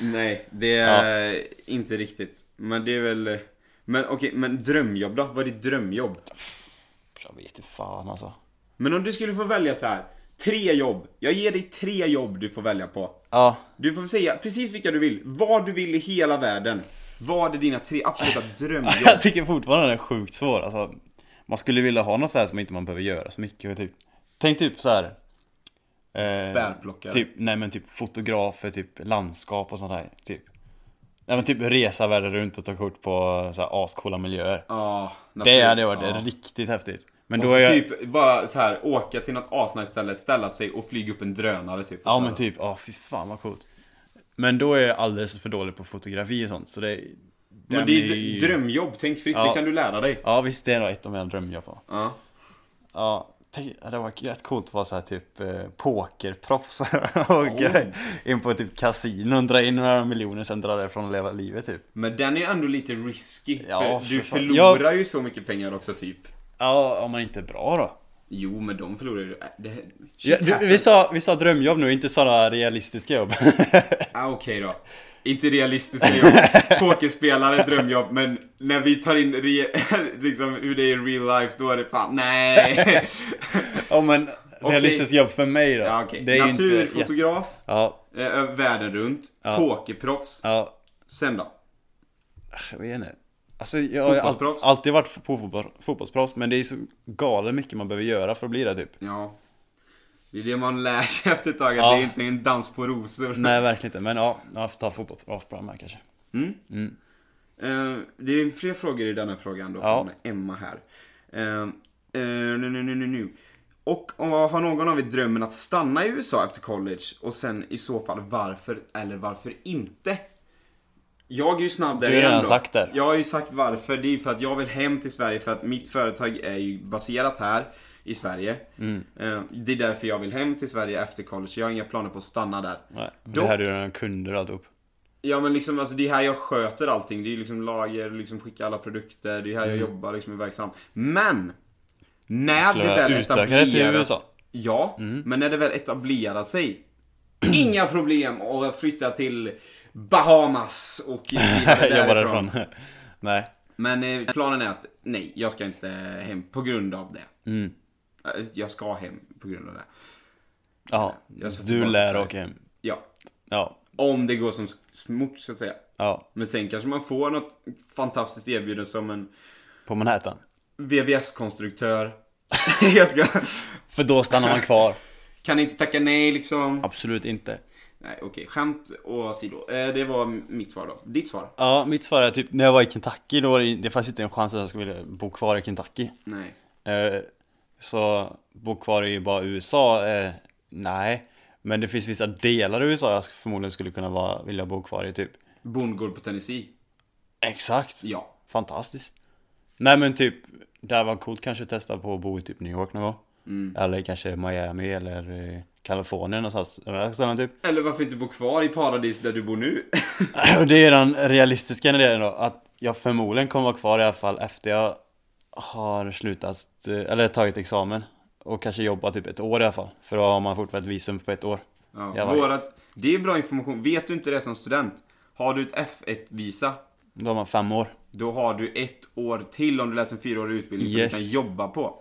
Nej, det är inte riktigt. Men det är väl... Men okej, men drömjobb då? Vad är ditt drömjobb? Jag vet inte fan alltså. Men om du skulle få välja så här. Tre jobb. Jag ger dig tre jobb du får välja på. Ja, Du får säga precis vilka du vill. Vad du vill i hela världen. Vad är dina tre absoluta [laughs] drömjobb? [laughs] Jag tycker fortfarande den är sjukt svår alltså, Man skulle vilja ha något så här som inte man behöver göra så mycket typ. Tänk typ så här. Eh, Bärplockare. Typ, nej men typ fotografer, typ landskap och sånt där typ. Nej men typ resa världen runt och ta kort på så här ascoola miljöer Ja, Det natur- hade varit ja. riktigt häftigt Men Och då så är jag... typ bara så här åka till något asnice ställe, ställa sig och flyga upp en drönare typ. Ja men typ, ja fy fan vad coolt Men då är jag alldeles för dålig på fotografi och sånt så det... Men den det är ju- ju drömjobb, tänk fritt, det Ja. kan du lära dig. Ja visst, det är nog ett av mina drömjobb ja. Ja. Ja, tänk, det var rätt coolt att vara så här typ eh, pokerproffs [laughs] och eh, in på typ kasinon, dra in några miljoner sen dra därifrån och leva livet typ. Men den är ju ändå lite risky. Ja, för för du fan. förlorar ju så mycket pengar också typ. Ja, om man inte är bra då. Jo, men de förlorar ju... äh, Det... Shit Ja, du, vi, happens. sa, vi sa drömjobb nu, inte sådana realistiska jobb. Ah, Okej då. Inte realistiska jobb. [laughs] Pokerspelare, drömjobb. Men när vi tar in re- [laughs] liksom hur det är i real life, då är det fan [laughs] nej. [laughs] ja [laughs] men realistiskt jobb för mig då. ja, okay. Det är ju ja, Naturfotograf, ja, eh, världen runt, Ja. pokerproffs. ja, Sen då? jag vet inte. Alltså jag har ju all, Fotbollsproffs. alltid varit på fotboll, fotbollsproffs men det är så galet mycket man behöver göra för att bli det typ. Ja. Det är det man lär sig [laughs] efter ett tag, att Ja. det är inte en dans på rosor. Nej verkligen inte, men ja, jag får ta fotbollsproffs på de här kanske. Mm. Mm. Eh, det är fler frågor i den här frågan då, Ja. från Emma här. Eh, eh, nu, nu, nu, nu, nu. Och om- har någon av er drömmen att stanna i USA efter college? Och sen i så fall varför eller varför inte? Jag är ju snabb där Du har igen redan då. sagt det. Jag har ju sagt varför. Det är ju för att jag vill hem till Sverige för att mitt företag är ju baserat här i Sverige. Mm. Eh, Det är därför jag vill hem till Sverige efter college. Jag har inga planer på att stanna där. Nej, men Dock- det här är ju redan kunder och [laughs] alltihop. Ja men liksom alltså det är här jag sköter allting. Det är ju liksom lager, liksom skicka alla produkter, det är här jag Mm. jobbar, liksom är verksam. Men! När Skulle det väl utöka det till etableras... USA? Mm. Ja, men när det väl etablerar sig. Inga problem att flytta till Bahamas och [laughs] vidare Jobbar därifrån. därifrån. [laughs] Nej. Men eh, planen är att nej, jag ska inte hem på grund av det. Mm. Eh, Jag ska hem på grund av det. Ja, Jag ska tillbaka du till lär Sverige. åka hem. Ja, Ja, om det går som smort så att säga. ja. Men sen kanske man får något fantastiskt erbjudande som en På Manhattan. VVS-konstruktör. [laughs] jag ska... För då stannar [laughs] man kvar. Kan inte tacka nej liksom. Absolut inte. Nej, okej. Skämt åsido. Eh, det var mitt svar då. Ditt svar? Ja, mitt svar är typ när jag var i Kentucky då var det, det fanns inte en chans att jag skulle vilja bo kvar i Kentucky. Nej. Eh, så bo kvar i bara USA, eh, nej. Men det finns vissa delar i USA jag förmodligen skulle kunna vara, vilja bo kvar i typ. Bondgård på Tennessee. Exakt. Ja. Fantastiskt. Nej men typ, det här var coolt kanske att testa på att bo i typ New York någon gång. Eller kanske Miami eller eh, Kalifornien någonstans. Eller sådana typ. [clears throat] Eller varför inte bo kvar i paradis där du bor nu? [laughs] Och det är den realistiska idén då, att jag förmodligen kommer vara kvar i alla fall efter jag har slutat, eh, eller tagit examen. Och kanske jobbat typ ett år i alla fall. För då har man fortfarande ett visum på ett år. ja, Jävlar. vårat, det är bra information. Vet du inte det som student, har du ett F1-visa, Då har man fem år. då har du ett år till om du läser en fyraårig utbildning som Yes. du kan jobba på.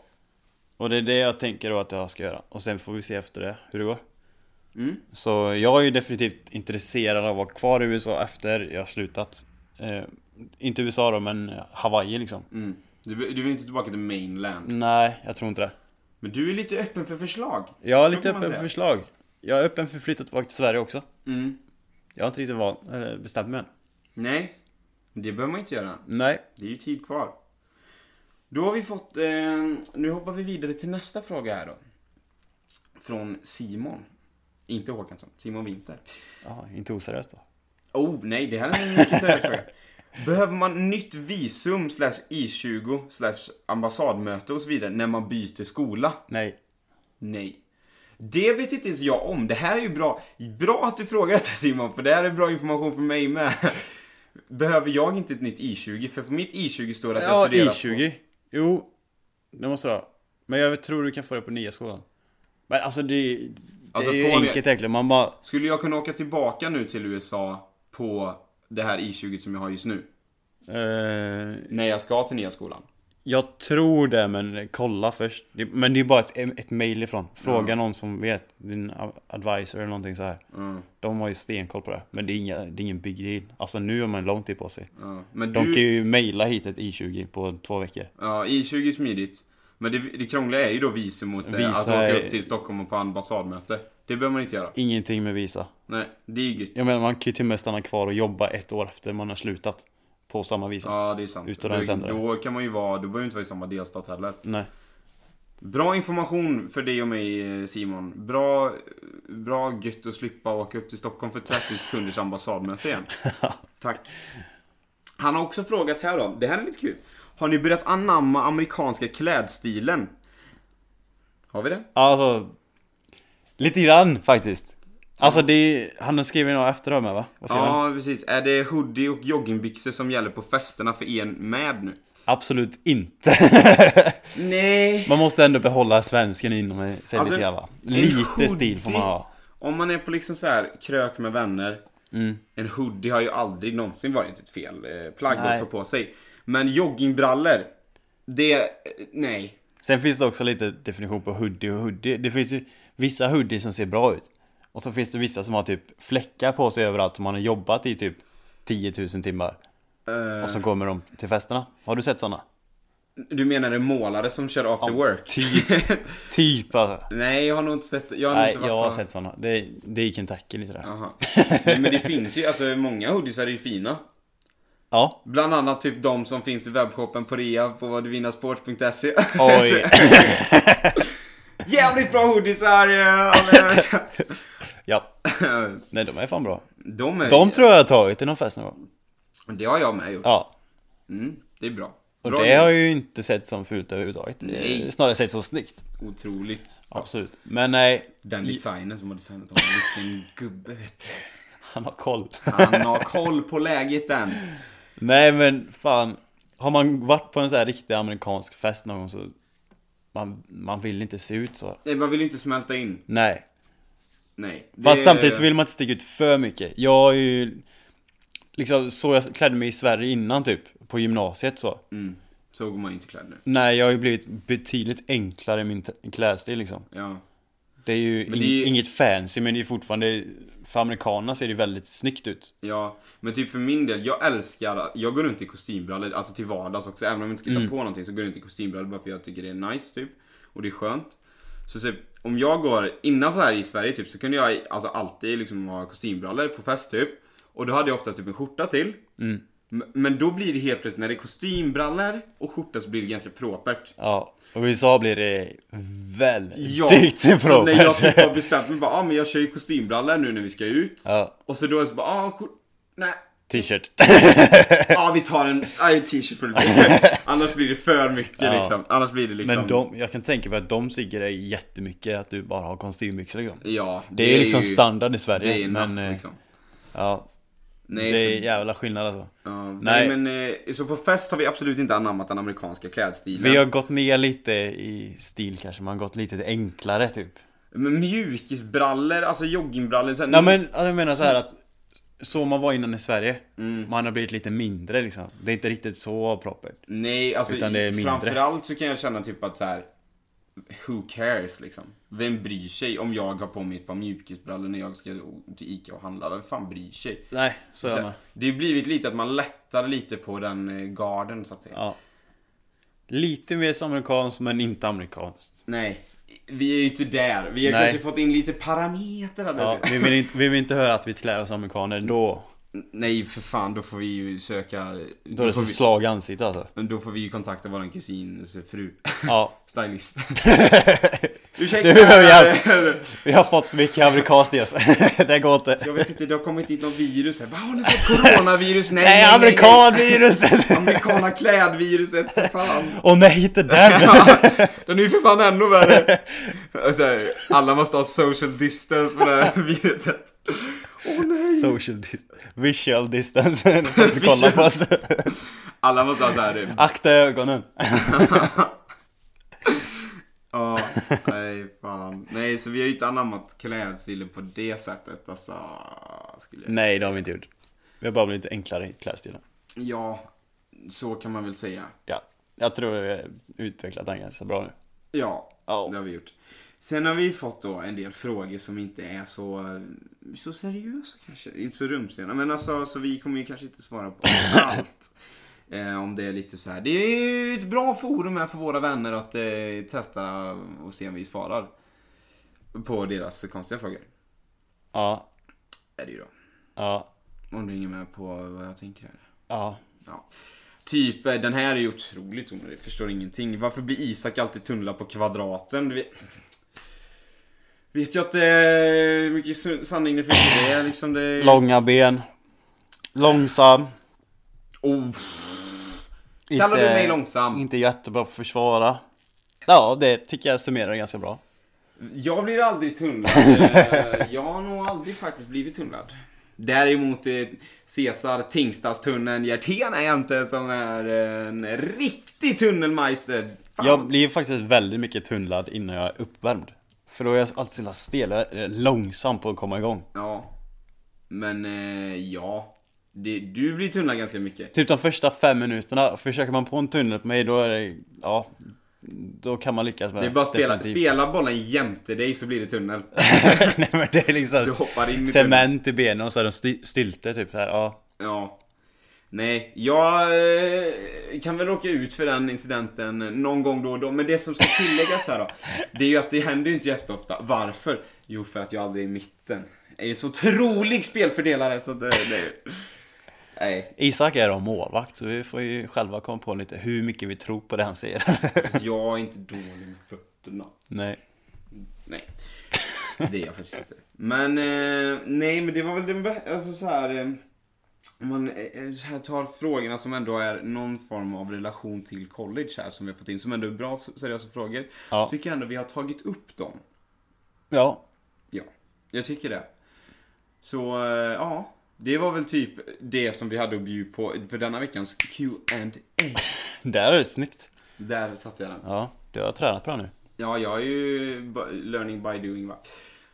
Och det är det jag tänker då att jag ska göra. Och sen får vi se efter det hur det går. Mm. Så jag är ju definitivt intresserad av att vara kvar i USA efter jag slutat. Eh, inte USA då, men Hawaii liksom. Mm. Du, du vill inte tillbaka till mainland. Nej, jag tror inte det. Men du är lite öppen för förslag. Jag är Så lite kan man öppen för säga. förslag. Jag är öppen för att flytta tillbaka till Sverige också. Mm. Jag har inte riktigt val, eller bestämt mig än. Nej, det behöver man inte göra. Nej. Det är ju tid kvar. Då har vi fått... Eh, nu hoppar vi vidare till nästa fråga här då. Från Simon. Inte Håkansson, Simon Winter. Ja, inte oseriöst då. Oh, nej, det här är en mycket seriös fråga. Behöver man nytt visum slash I20 slash ambassadmöte och så vidare när man byter skola? Nej. Nej. Det vet inte ens jag om. Det här är ju bra. Bra att du frågar detta Simon, för det här är bra information för mig med. [laughs] Behöver jag inte ett nytt I20? För på mitt I20 står det att jag Ja, studerar I20. Jo, det måste du ha. Men jag tror du kan få det på nya skolan. Men alltså det, det Alltså, är ju på- enkelt egentligen. Man bara... Skulle jag kunna åka tillbaka nu till USA på det här I20 som jag har just nu? Eh, När jag ska till nya skolan? Jag tror det, men kolla först. Det- Men det är bara ett, ett mail ifrån. Fråga någon som vet, din a- advisor eller någonting så här. Mm, De har ju stenkoll på det. Men det är, inga, det är ingen big deal. Alltså nu har man lång tid på sig. ja. Men De du... kan ju mejla hit ett I20 på två veckor. Ja, I20 är smidigt. Men det, det krångliga är ju då visum mot eh, Visa att åka är- upp till Stockholm och på ambassadmöte. Det behöver man inte göra. Ingenting med visa. Nej, det är ju gött. Jag menar, man kan ju till och med stanna kvar och jobba ett år efter man har slutat. På samma visa. Ja, det är sant. Utan en Då, sändare. då kan man ju vara... Då behöver man inte vara i samma delstat heller. Nej. Bra information för dig och mig eh, Simon. Bra, bra gött att slippa åka upp till Stockholm för 30 sekunders ambassadmöte igen. Tack. Han har också frågat här då, det här är lite kul. Har ni börjat anamma amerikanska klädstilen? Har vi det? Alltså... Lite grann faktiskt. Alltså det är, Han har skrivit något efter det med va? Vad skriver han? Ja, precis. Är det hoodie och joggingbyxor som gäller på festerna för en med nu? Absolut inte. Nej. Man måste ändå behålla svensken inom sig Alltså, lite grann va? en Lite hoodie- stil får man ha. Om man är på liksom så här krök med vänner. Mm. En hoodie har ju aldrig någonsin varit ett fel eh, plagg Nej. att ta på sig. Men joggingbrallor. Det, eh, nej. Sen finns det också lite definition på hoodie och hoodie. Det finns ju vissa hoodie som ser bra ut. Och så finns det vissa som har typ fläckar på sig överallt som man har jobbat i typ 10 000 timmar. Eh, Och så kommer de till festerna. Har du sett sådana? du menar en målare som kör after work? Typ, typ alltså. [laughs] nej, jag har nog inte sett, jag har nog Nej, inte varit jag har på- sett sådana. Det, det är i Kentucky lite där. [laughs] Jaha. Nej, men det finns ju, alltså många hoodies är ju fina. Ja. Bland annat typ de som finns i webbshoppen på rea på duvinnasport.se. Oj. [laughs] Jävligt bra hoodiesar! eh, [laughs] alla- [laughs] Ja. Nej, de är fan bra. de är, De tror jag har tagit till någon fest någon gång. Det har jag med gjort. Ja. Mm, det är bra. Och bra det grej. har jag ju inte sett som fult överhuvudtaget. Nej. Eh, Snarare sett som snyggt. Otroligt. Absolut. Men nej, Den designen som har designat honom, vilken gubbe vet du. han har koll. Han har koll på läget den. [laughs] nej men fan. Har man varit på en sån här riktig amerikansk fest någon gång så... Man, man vill inte se ut så. Nej, man vill ju inte smälta in. Nej. Nej. Det- Fast samtidigt så vill man inte sticka ut för mycket. Jag är ju... Liksom så jag klädde mig i Sverige innan typ. På gymnasiet så. Mm, så går man ju inte klädd nu. Nej, jag har ju blivit betydligt enklare i min t- klädstil liksom. Ja. Det är ju Men ing- det är ju- inget fancy men det är fortfarande... För amerikanerna ser det väldigt snyggt ut. Ja, men typ för min del, jag älskar, jag går runt i kostymbrallor, alltså till vardags också. Även om jag inte Mm. ska ta på någonting så går jag runt i kostymbrallor bara för jag tycker det är nice typ. Och det är skönt. Så typ, om jag går, innan så här i Sverige typ, så kunde jag alltså alltid liksom ha kostymbrallor på fest typ. Och då hade jag oftast typ en skjorta till. Mm. M- Men då blir det helt plötsligt, när det är kostymbrallor och skjorta så blir det ganska propert. Ja, och i USA blir det väldigt Ja, så när jag propert. typ har bestämt mig bara, ah, men jag kör ju kostymbrallor nu när vi ska ut. [laughs] Ja, Och så då är det så bara, ah, skjort- nej, [laughs] T-shirt. Ja, vi tar en aj, t-shirt full [laughs] Annars blir det för mycket Ja. liksom. Annars blir det liksom... Men de, jag kan tänka mig att de siggar dig jättemycket att du bara har kostymbyxor liksom. Ja, Det, är ju liksom standard i Sverige. Det är enough men, eh, liksom. Ja, Nej, det så- är jävla skillnad alltså. Ja, nej. Nej. men eh, så på fest har vi absolut inte anammat den amerikanska klädstilen. Vi har gått ner lite i stil kanske, man har gått lite till enklare typ. Men mjukisbrallor, alltså joggingbrallor. Så här, Nej men jag menar så här att så man var innan i Sverige, Mm. man har blivit lite mindre liksom. Det är inte riktigt så proppert. nej, alltså Utan det är mindre. framförallt så kan jag känna typ att så här. Who cares liksom? Vem bryr sig om jag har på mig ett par mjukisbrallor när jag ska till Ica och handla? Vem fan bryr sig? Nej, så Så är här, man. det har blivit lite att man lättar lite på den eh, garden så att säga. Ja. Lite mer som amerikanskt men inte amerikanskt. Nej, vi är ju inte där. Vi har Nej. kanske fått in lite parametrar där. Ja, vi, vill inte, vi vill inte höra att vi klär oss amerikaner då. Nej, för fan, då får vi ju söka... Då är det får som vi... slag i ansiktet alltså. Men då får vi ju kontakta våran kusins fru. [laughs] Ja. [laughs] Stylist. Du Ursäkta! behöver hjälp! Vi har fått för mycket amerikanskt i oss. [laughs] Det går inte. [laughs] Jag vet inte, det har kommit dit något virus här. Vad har ni fått? Coronavirus? Nej, [laughs] Nej, amerikanviruset! Amerikana klädviruset, för fan! [laughs] Och nej, inte [laughs] den! Ja, Den är ju för fan ännu värre! Alltså, alla måste ha social distance med det här [laughs] viruset. Åh nej! Social dis- visual distance. [laughs] Du får inte kolla på oss. Alla måste ha typ, såhär... Akta ögonen. [laughs] Ja, nej fan. Nej, så vi har ju inte anammat klädstilen på det sättet alltså. Skulle jag... Nej, det har vi inte gjort. Vi har bara blivit enklare i klädstilen. Ja, så kan man väl säga. Ja, jag tror vi har utvecklat den ganska bra nu. Ja, Ja. det har vi gjort. Sen har vi fått då en del frågor som inte är så, eh, så seriösa kanske. Inte så rumsrena. Men alltså, så vi kommer ju kanske inte svara på allt. Eh, om det är lite så här. Det är ju ett bra forum här för våra vänner att eh, testa och se om vi svarar. På deras konstiga frågor. Ja, Är det ju då. ja, Om du hänger med på vad jag tänker här. ja. Ja. Typ, eh, den här är ju otroligt onödig, förstår ingenting. Varför blir Isak alltid tunnla på kvadraten? Du vet, vet jag att det är mycket s- sanning det finns i det. Liksom det... Långa ben. Långsam. Oh, kallar du Inte- mig långsam? Inte jättebra på att försvara. Ja, det tycker jag summerar ganska bra. Jag blir aldrig tunnlad. Eh, jag har nog aldrig faktiskt blivit tunnlad. Däremot eh, Cesar Tingstadstunneln Hjertén är jag inte som är eh, en riktig tunnelmeister. Fan. Jag blir faktiskt väldigt mycket tunnlad innan jag är uppvärmd. För då är jag alltid så himla stel, jag är långsam på att komma igång. Ja. Men eh, ja. Det, du blir tunnlad ganska mycket. Typ de första fem minuterna, försöker man på en tunnel på mig då är det, ja, då kan man lyckas med Det är bara att spela, definitivt. spela bollen jämte dig så blir det tunnel. [laughs] Nej men det är liksom Du hoppar in i tunneln. cement i benen och så är de sti- stilter typ så här. ja. Ja. Nej, jag eh, kan väl råka ut för den incidenten någon gång då och då. Men det som ska tilläggas här då. Det är ju att det händer ju inte jätteofta. Varför? Jo, för att jag aldrig är i mitten. Jag är ju så otrolig spelfördelare så att det, det är ju- Nej, Isak är då målvakt så vi får ju själva komma på lite hur mycket vi tror på det han säger. [laughs] fast jag är inte dålig med fötterna. Nej. Nej. Det är jag faktiskt inte. Men eh, nej, men det var väl den bä- alltså så här eh, om man eh, så här tar frågorna som ändå är någon form av relation till college här som vi har fått in, som ändå är bra seriösa frågor. Ja. Så tycker jag ändå vi har tagit upp dem. Ja. Ja, jag tycker det. Så eh, ja, det var väl typ det som vi hade att bjuda på för denna veckans Q&A Där är det snyggt. Där satte jag den. Ja, du har tränat bra nu. Ja, jag är ju b- learning by doing va.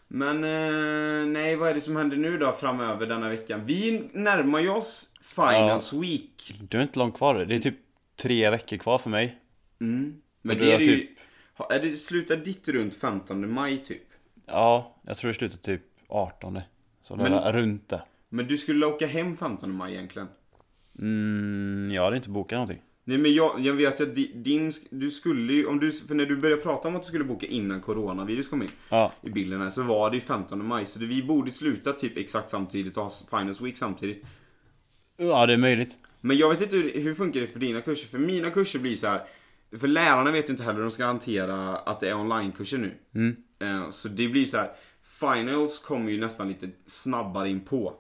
Men eh, nej, vad är det som händer nu då framöver denna veckan? Vi närmar ju oss finals week. Du är inte långt kvar. Det är typ tre veckor kvar för mig. Mm. Men Och du det är har typ- det ju... Ha- Är det slutar ditt runt 15 maj typ? Ja, jag tror det slutar typ 18. Så det är runt det. Men du skulle åka hem 15 maj egentligen? Mm, jag hade inte bokat någonting. Nej men jag, jag vet ju att di- din, sk- du skulle ju, om du, för när du började prata om att du skulle boka innan coronavirus kom in Ja. i bilden här så var det ju 15 maj så det, vi borde sluta typ exakt samtidigt och ha s- finals week samtidigt. Ja, det är möjligt. Men jag vet inte hur, hur funkar det för dina kurser? För mina kurser blir så här. För lärarna vet ju inte heller hur de ska hantera att det är onlinekurser nu. Mm. Eh, Så det blir så här. Finals kommer ju nästan lite snabbare in på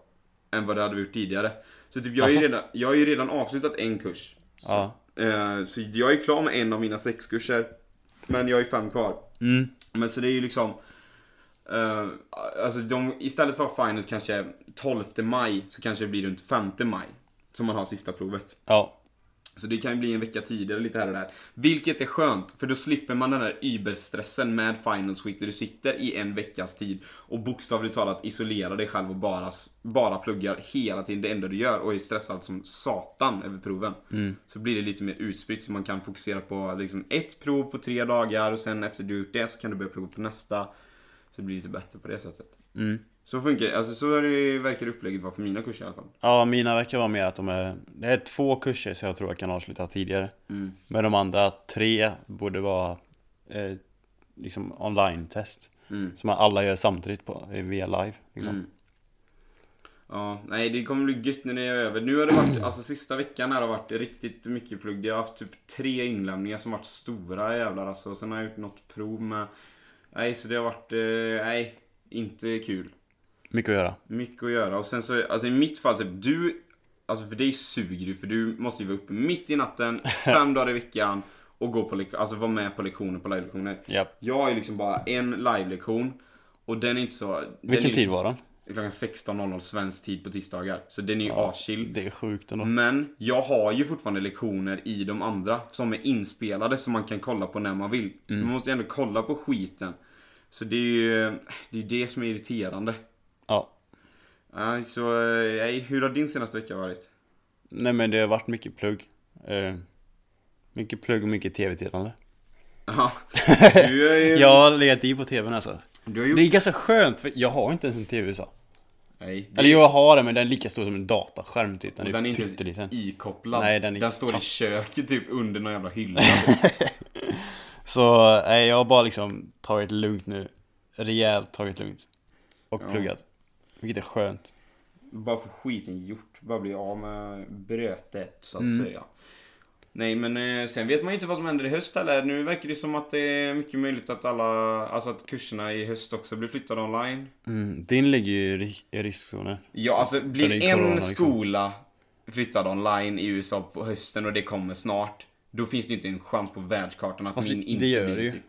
än vad det hade vi gjort tidigare. Så typ jag, Alltså? är ju redan, jag har ju redan avslutat en kurs. Så, Ja. eh, så jag är klar med en av mina sex kurser. Men jag är fem kvar. Mm. Men så det är ju liksom... eh, alltså de, istället för att ha finals kanske 12 maj så kanske det blir runt 5 maj. Som man har sista provet. Ja. Så det kan ju bli en vecka tidigare lite här och där. Vilket är skönt, för då slipper man den där überstressen med Finals Week där du sitter i en veckas tid och bokstavligt talat isolerar dig själv och bara, bara pluggar hela tiden det enda du gör och är stressad som satan över proven. Så blir det lite mer utspritt så man kan fokusera på liksom ett prov på tre dagar och sen efter du gjort det så kan du börja prova på nästa. Så det blir lite bättre på det sättet. Mm. Så funkar alltså så är det, verkar upplägget vara för mina kurser i alla fall. Ja, mina verkar vara mer att de är... Det är två kurser så jag tror jag kan avsluta tidigare. Men de andra tre borde vara eh, liksom online-test. Mm. Som alla gör samtidigt på, eh, via live. Liksom. Mm. Ja, nej det kommer bli gött när det är över. Nu har det varit, alltså sista veckan här har varit riktigt mycket plugg. Jag har haft typ tre inlämningar som varit stora jävlar alltså. Sen har jag gjort något prov med. Nej, så det har varit, eh, nej, inte kul. Mycket att göra. Mycket att göra. Och sen så, alltså i mitt fall, så du, alltså för dig suger du för du måste ju vara uppe mitt i [laughs] natten, fem dagar i veckan och gå på, lek- alltså vara med på lektioner, på live-lektioner. Japp. Jag har ju liksom bara en live-lektion och den är inte så... den är Vilken liksom- tid var den? det är klockan 16.00 svensk tid på tisdagar. Så den är ju aschill. Det är sjukt ändå. Men jag har ju fortfarande lektioner i de andra som är inspelade som man kan kolla på när man vill. Mm. Man måste ju ändå kolla på skiten. Så det är ju det, är det som är irriterande. Ja. Nej, Så, eh, nej, hur har din senaste vecka varit? [laughs] Nej men det har varit mycket plugg. Eh, mycket plugg och mycket tv-tittande. Ja, du, är ju, Jag har legat i på tvn alltså. du har Det gjort... är ganska skönt för jag har inte ens en tv så. Nej, det, Eller jo, jag har den men den är lika stor som en dataskärm typ. Den är, den är inte ens pytteliten. ikopplad. Nej, den är står i kass. köket typ under någon jävla hylla. Så nej, jag har bara liksom tagit lugnt nu. Rejält tagit lugnt. Och Ja. pluggat. Vilket är skönt. Bara få skiten gjort. Bara bli av med brötet så att Mm. säga. Nej men eh, sen vet man ju inte vad som händer i höst heller. Nu verkar det som att det är mycket möjligt att alla, alltså att kurserna i höst också blir flyttade online. Mm, din ligger ju i ri- i riskzonen. Ja alltså det blir är ju en corona, liksom. skola flyttad online i USA på hösten och det kommer snart. Då finns det inte en chans på världskartan att Fast min det- inte det gör blir det ju. typ.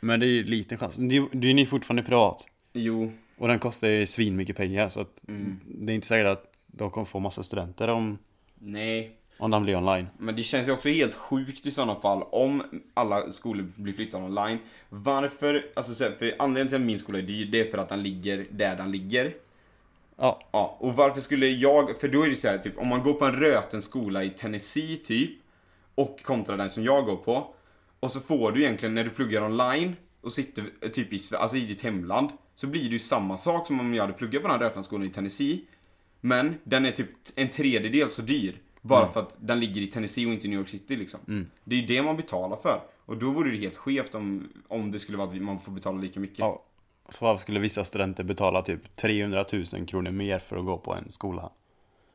Men det är ju liten chans. Du, du är ni fortfarande privat. Jo, Och den kostar ju svinmycket pengar så att det är inte säkert att de kommer få massa studenter om, nej. om den blir online. Men det känns ju också helt sjukt i sådana fall om alla skolor blir flyttade online. Varför? Alltså så här, för anledningen till att min skola är dyr, det är för att den ligger där den ligger. Ja, Ja, och varför skulle jag, för då är det så här, typ om man går på en röten skola i Tennessee typ och kontra den som jag går på och så får du egentligen när du pluggar online och sitter eh, typ i, Sve- alltså i ditt hemland så blir det ju samma sak som om jag hade pluggat på den här rötenskolan i Tennessee men den är typ t- en tredjedel så dyr bara Mm. för att den ligger i Tennessee och inte i New York City liksom. Det är ju det man betalar för och då vore det helt skevt om, om det skulle vara att vi- man får betala lika mycket. ja. Så varför skulle vissa studenter betala typ 300 000 kronor mer för att gå på en skola?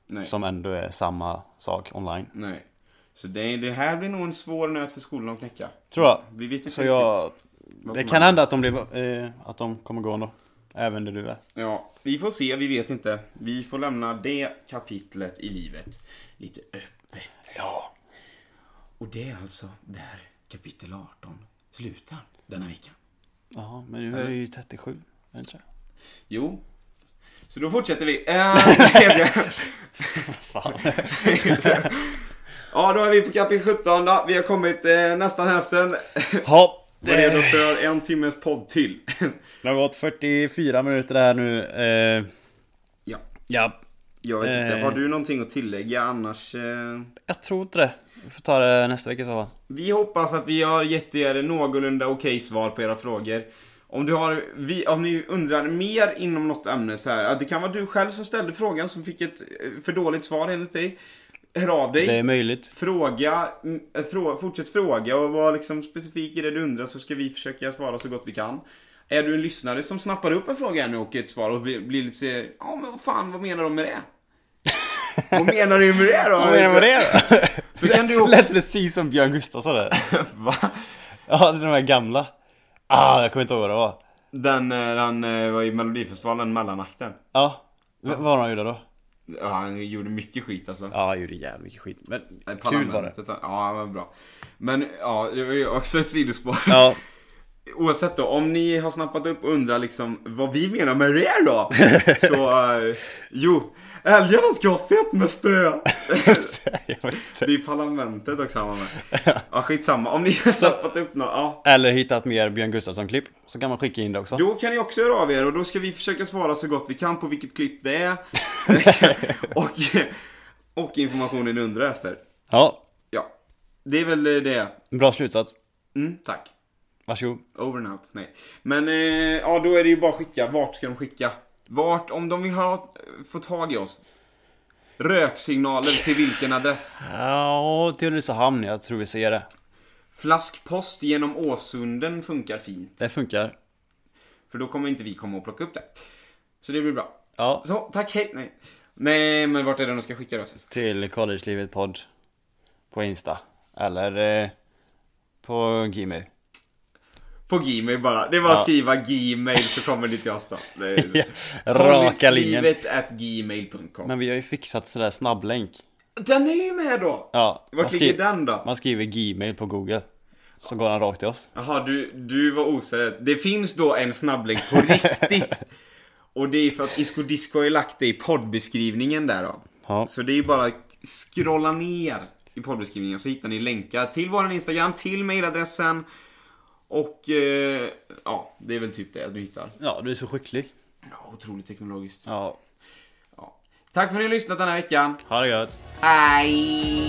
Nej. Som ändå är samma sak online. Nej. Så det, det här blir nog en svår nöt för skolan att knäcka. Tror jag. Vi vet inte Så jag... vad Det som kan händer. hända att de, blir, eh, att de kommer gå ändå. Även där du är. Ja, vi får se, vi vet inte. Vi får lämna det kapitlet i livet lite öppet. Ja. Och det är alltså där kapitel 18 slutar denna veckan. Ja, men nu är det ju 37. är det inte det? Jo. Så då fortsätter vi. [laughs] Eh, nej, Fan. jag- ja, då är vi på kapitel 17 då. Vi har kommit eh, nästan hälften. Ja, Det är redo det, för en timmes podd [laughs] till. det har gått 44 minuter här nu. Eh, ja, ja, jag vet inte. Eh. Har du någonting att tillägga annars? Eh... jag tror inte det. Vi får ta det nästa vecka i så fall. Vi hoppas att vi har gett er någorlunda okej svar på era frågor. Om, du har, vi, om ni undrar mer inom något ämne så här, att det kan vara du själv som ställde frågan som fick ett eh, för dåligt svar enligt dig. Hör av dig, Det är möjligt. fråga, mm, eh, frå, fortsätt fråga och var liksom specifik i det du undrar så ska vi försöka svara så gott vi kan. Är du en lyssnare som snappar upp en fråga ännu och ett svar och blir, blir lite så här, ja men vad fan, vad menar de med [laughs] det? vad menar du med det då? Vad menar du med det Så kan [laughs] du också... Lät precis som Björn Gustafsson där. [laughs] Va? Ja, det är de här gamla. Ah, jag kommer inte ihåg vad det var. Den, eh, den eh, var i Melodifestivalen, mellanakten. Ja, v- vad var de gjorde då? Ja, han gjorde mycket skit alltså. Ja, jag gjorde jävligt mycket skit. Men Nej, kul var [laughs] det. parlamentet, Ja, det var bra. Men ja, det var ju också ett sidospår. Ja, Oavsett då, om ni har snappat upp och undrar liksom vad vi menar med det då? så, eh, jo. Älgarna ska ha fett med spö! [laughs] jag vet inte. Det är parlamentet också han var med. Ja, skitsamma. Om ni har snappat upp något, ja. Eller hittat mer Björn Gustafsson-klipp. Så kan man skicka in det också. Då kan ni också höra av er och då ska vi försöka svara så gott vi kan på vilket klipp det är. och, och informationen ni undrar efter. Ja, Ja, det är väl det. bra slutsats. Mm, tack. Varsågod. Over and out, nej. Men eh, ja, då är det ju bara att skicka. Vart ska de skicka? Vart, om de vill ha, eh, få tag i oss? Röksignaler till vilken adress? Ja, till Ulricehamn. Jag tror vi ser det. Flaskpost genom Åsunden funkar fint. Det funkar. För då kommer inte vi komma och plocka upp det. Så det blir bra. Ja, Så, tack, hej. Nej, nej men vart är det de ska skicka då? Sist? till Collegelivet podd på Insta. Eller eh, på Gmail. På Gmail bara. Det är bara att Ja. skriva Gmail så kommer ni till oss då. Det [laughs] är- Raka linjen. Collegelivet at gmail.com. Men vi har ju fixat sådär snabblänk. Den är ju med då! Ja, man, Vart skri- ligger den då? man skriver Gmail på Google. Så går han rakt till oss. Jaha, du, du var oseriös. Det finns då en snabblänk på riktigt. Och det är för att Isko Disco har ju lagt det i poddbeskrivningen där då. Ja. Så det är ju bara att scrolla ner i poddbeskrivningen så hittar ni länkar till våran Instagram, till mailadressen och eh, ja, det är väl typ det du hittar. ja, du är så skicklig. Ja, otroligt teknologiskt. Ja, Tack för att ni har lyssnat den här veckan. ha det gött. Hej!